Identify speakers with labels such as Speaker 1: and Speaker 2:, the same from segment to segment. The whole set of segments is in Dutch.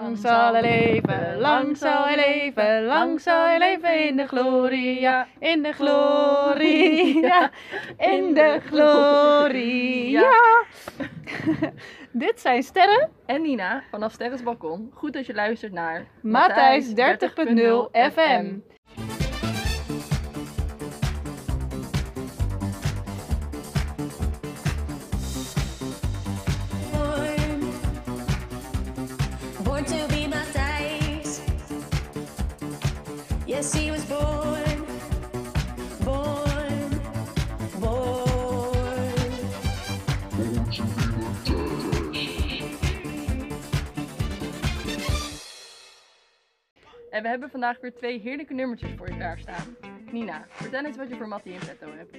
Speaker 1: Lang zal hij leven, lang zal hij leven, lang zal hij leven in de gloria, in de gloria, in de gloria. Dit zijn sterren,
Speaker 2: En Nina vanaf Sterrens Balkon. Goed dat je luistert naar
Speaker 1: Matthijs 30.0 FM.
Speaker 3: Born to be Matthijs. Yes, he was born, born, born.
Speaker 2: En we hebben vandaag weer twee heerlijke nummertjes voor je klaarstaan. Nina, vertel eens wat je voor Mattie in petto hebt.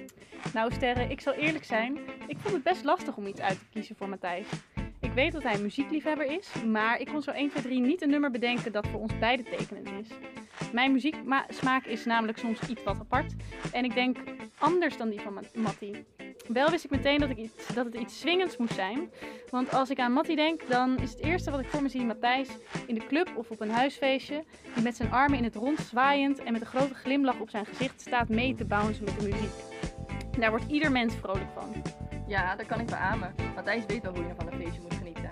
Speaker 1: Nou Sterren, ik zal eerlijk zijn, ik vond het best lastig om iets uit te kiezen voor Matthijs. Ik weet dat hij een muziekliefhebber is, maar ik kon zo 1, 2, 3 niet een nummer bedenken dat voor ons beiden tekenend is. Mijn muzieksmaak is namelijk soms iets wat apart en ik denk anders dan die van Ma- Mattie. Wel wist ik meteen dat, ik iets, dat het iets swingends moest zijn, want als ik aan Mattie denk, dan is het eerste wat ik voor me zie Matthijs in de club of op een huisfeestje, die met zijn armen in het rond zwaaiend en met een grote glimlach op zijn gezicht staat mee te bouncen met de muziek. Daar wordt ieder mens vrolijk van.
Speaker 2: Ja, dat kan ik beamen. Matthijs weet wel hoe je van een feestje moet genieten.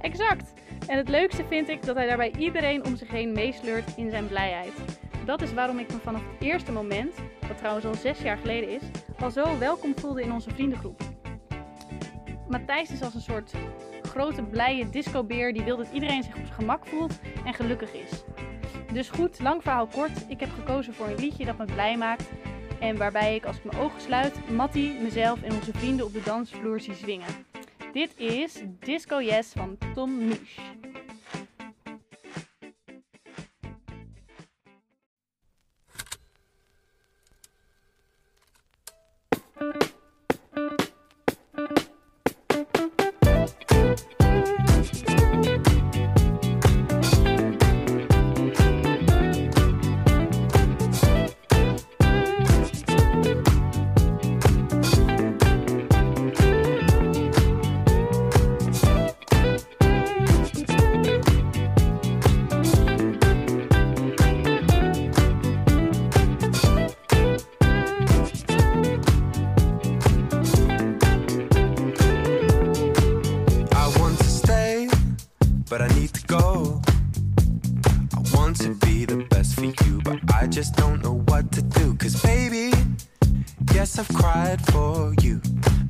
Speaker 1: Exact. En het leukste vind ik dat hij daarbij iedereen om zich heen meesleurt in zijn blijheid. Dat is waarom ik me vanaf het eerste moment, wat trouwens al zes jaar geleden is, al zo welkom voelde in onze vriendengroep. Matthijs is als een soort grote blije discobeer die wil dat iedereen zich op zijn gemak voelt en gelukkig is. Dus goed, lang verhaal kort, ik heb gekozen voor een liedje dat me blij maakt en waarbij ik als ik mijn ogen sluit, Mattie, mezelf en onze vrienden op de dansvloer zie zwingen. Dit is Disco Yes van Tom Misch.
Speaker 4: I want to stay, but I need to go. I want to be the best for you, but I just don't know what to do. Cause baby, yes, I've cried for you.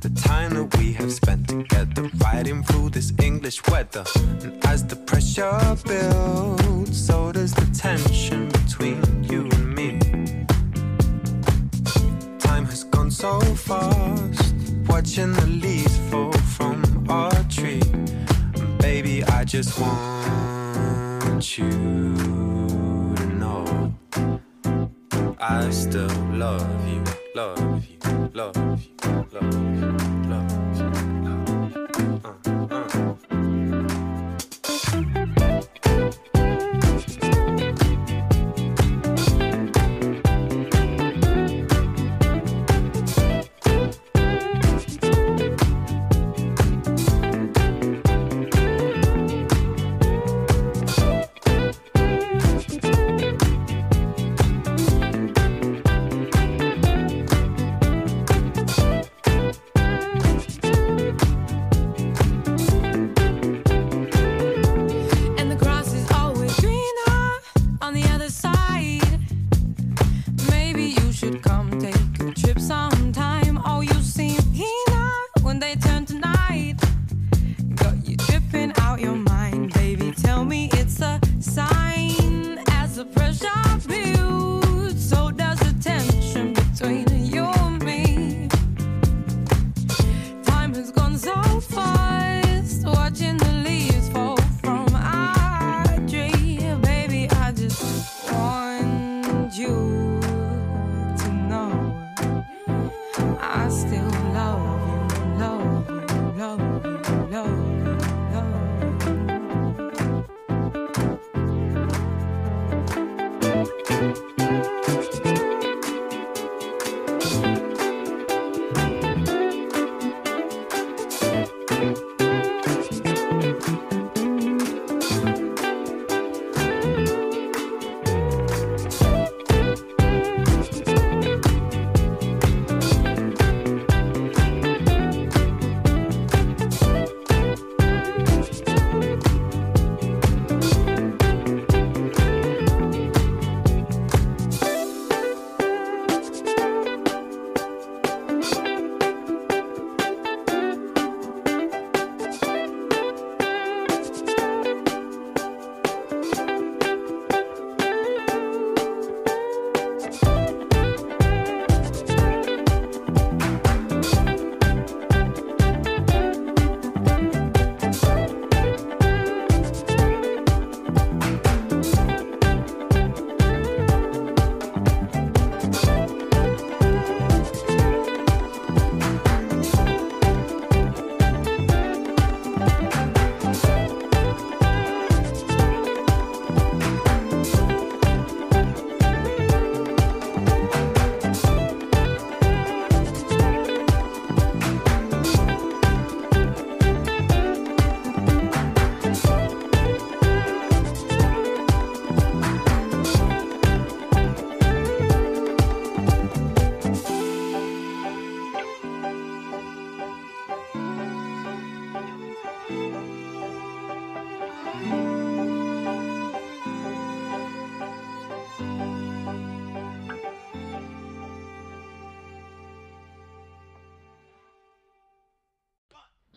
Speaker 4: The time that we have spent together, riding through this English weather. And as the pressure builds, so does the tension between you and me. Time has gone so fast, watching the leaves fall from our tree. And baby, I just want you to know I still love you, love you, love you, love you, love you. Love you. Uh, uh.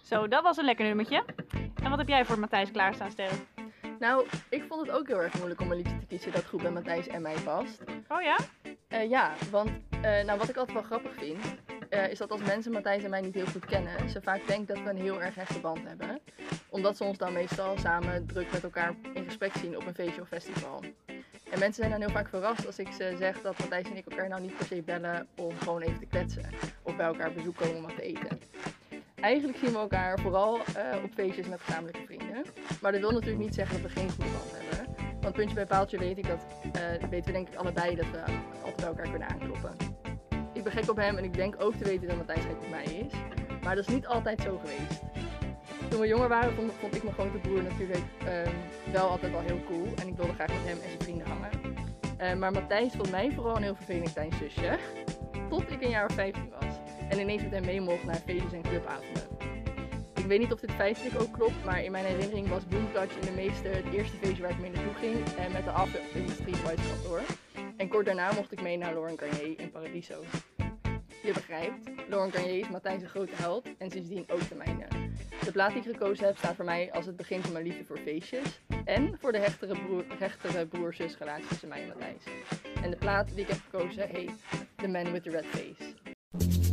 Speaker 1: Zo, dat was een lekker nummertje. En wat heb jij voor Matthijs klaarstaan, Sterren?
Speaker 2: Nou, ik vond het ook heel erg moeilijk om een liedje te kiezen dat goed bij Matthijs en mij past.
Speaker 1: Oh ja?
Speaker 2: Eh, ja, want eh, nou, wat ik altijd wel grappig vind, eh, is dat als mensen Matthijs en mij niet heel goed kennen, ze vaak denken dat we een heel erg hechte band hebben. Omdat ze ons dan meestal samen druk met elkaar in gesprek zien op een feestje of festival. En mensen zijn dan heel vaak verrast als ik ze zeg dat Matthijs en ik elkaar nou niet per se bellen om gewoon even te kletsen. Of bij elkaar bezoek komen om wat te eten. Eigenlijk zien we elkaar vooral eh, op feestjes met gezamenlijke vrienden. Maar dat wil natuurlijk niet zeggen dat we geen goede band hebben. Want puntje bij paaltje weet ik dat eh, weten we denk ik allebei dat we altijd bij elkaar kunnen aankloppen. Ik ben gek op hem en ik denk ook te weten dat Matthijs gek op mij is. Maar dat is niet altijd zo geweest. Toen we jonger waren vond, vond ik mijn grote broer natuurlijk ehm, wel altijd wel heel cool. En ik wilde graag met hem en zijn vrienden hangen. Eh, maar Matthijs vond mij vooral een heel vervelend klein zusje. Tot ik een jaar of 15 was. En ineens met hem mee mocht naar feestjes en clubavonden. Ik weet niet of dit feitelijk ook klopt, maar in mijn herinnering was Boom Touch in de meeste het eerste feestje waar ik mee naartoe ging. En met de after in de Street Fights kantoor. En kort daarna mocht ik mee naar Lauren Garnier in Paradiso. Je begrijpt, Lauren Garnier is Matthijs' een grote held en sindsdien ook de mijne. De plaat die ik gekozen heb staat voor mij als het begin van mijn liefde voor feestjes. En voor de hechtere, broer, hechtere broer-zus relatie tussen mij en Matthijs. En de plaat die ik heb gekozen heet The Man With The Red Face.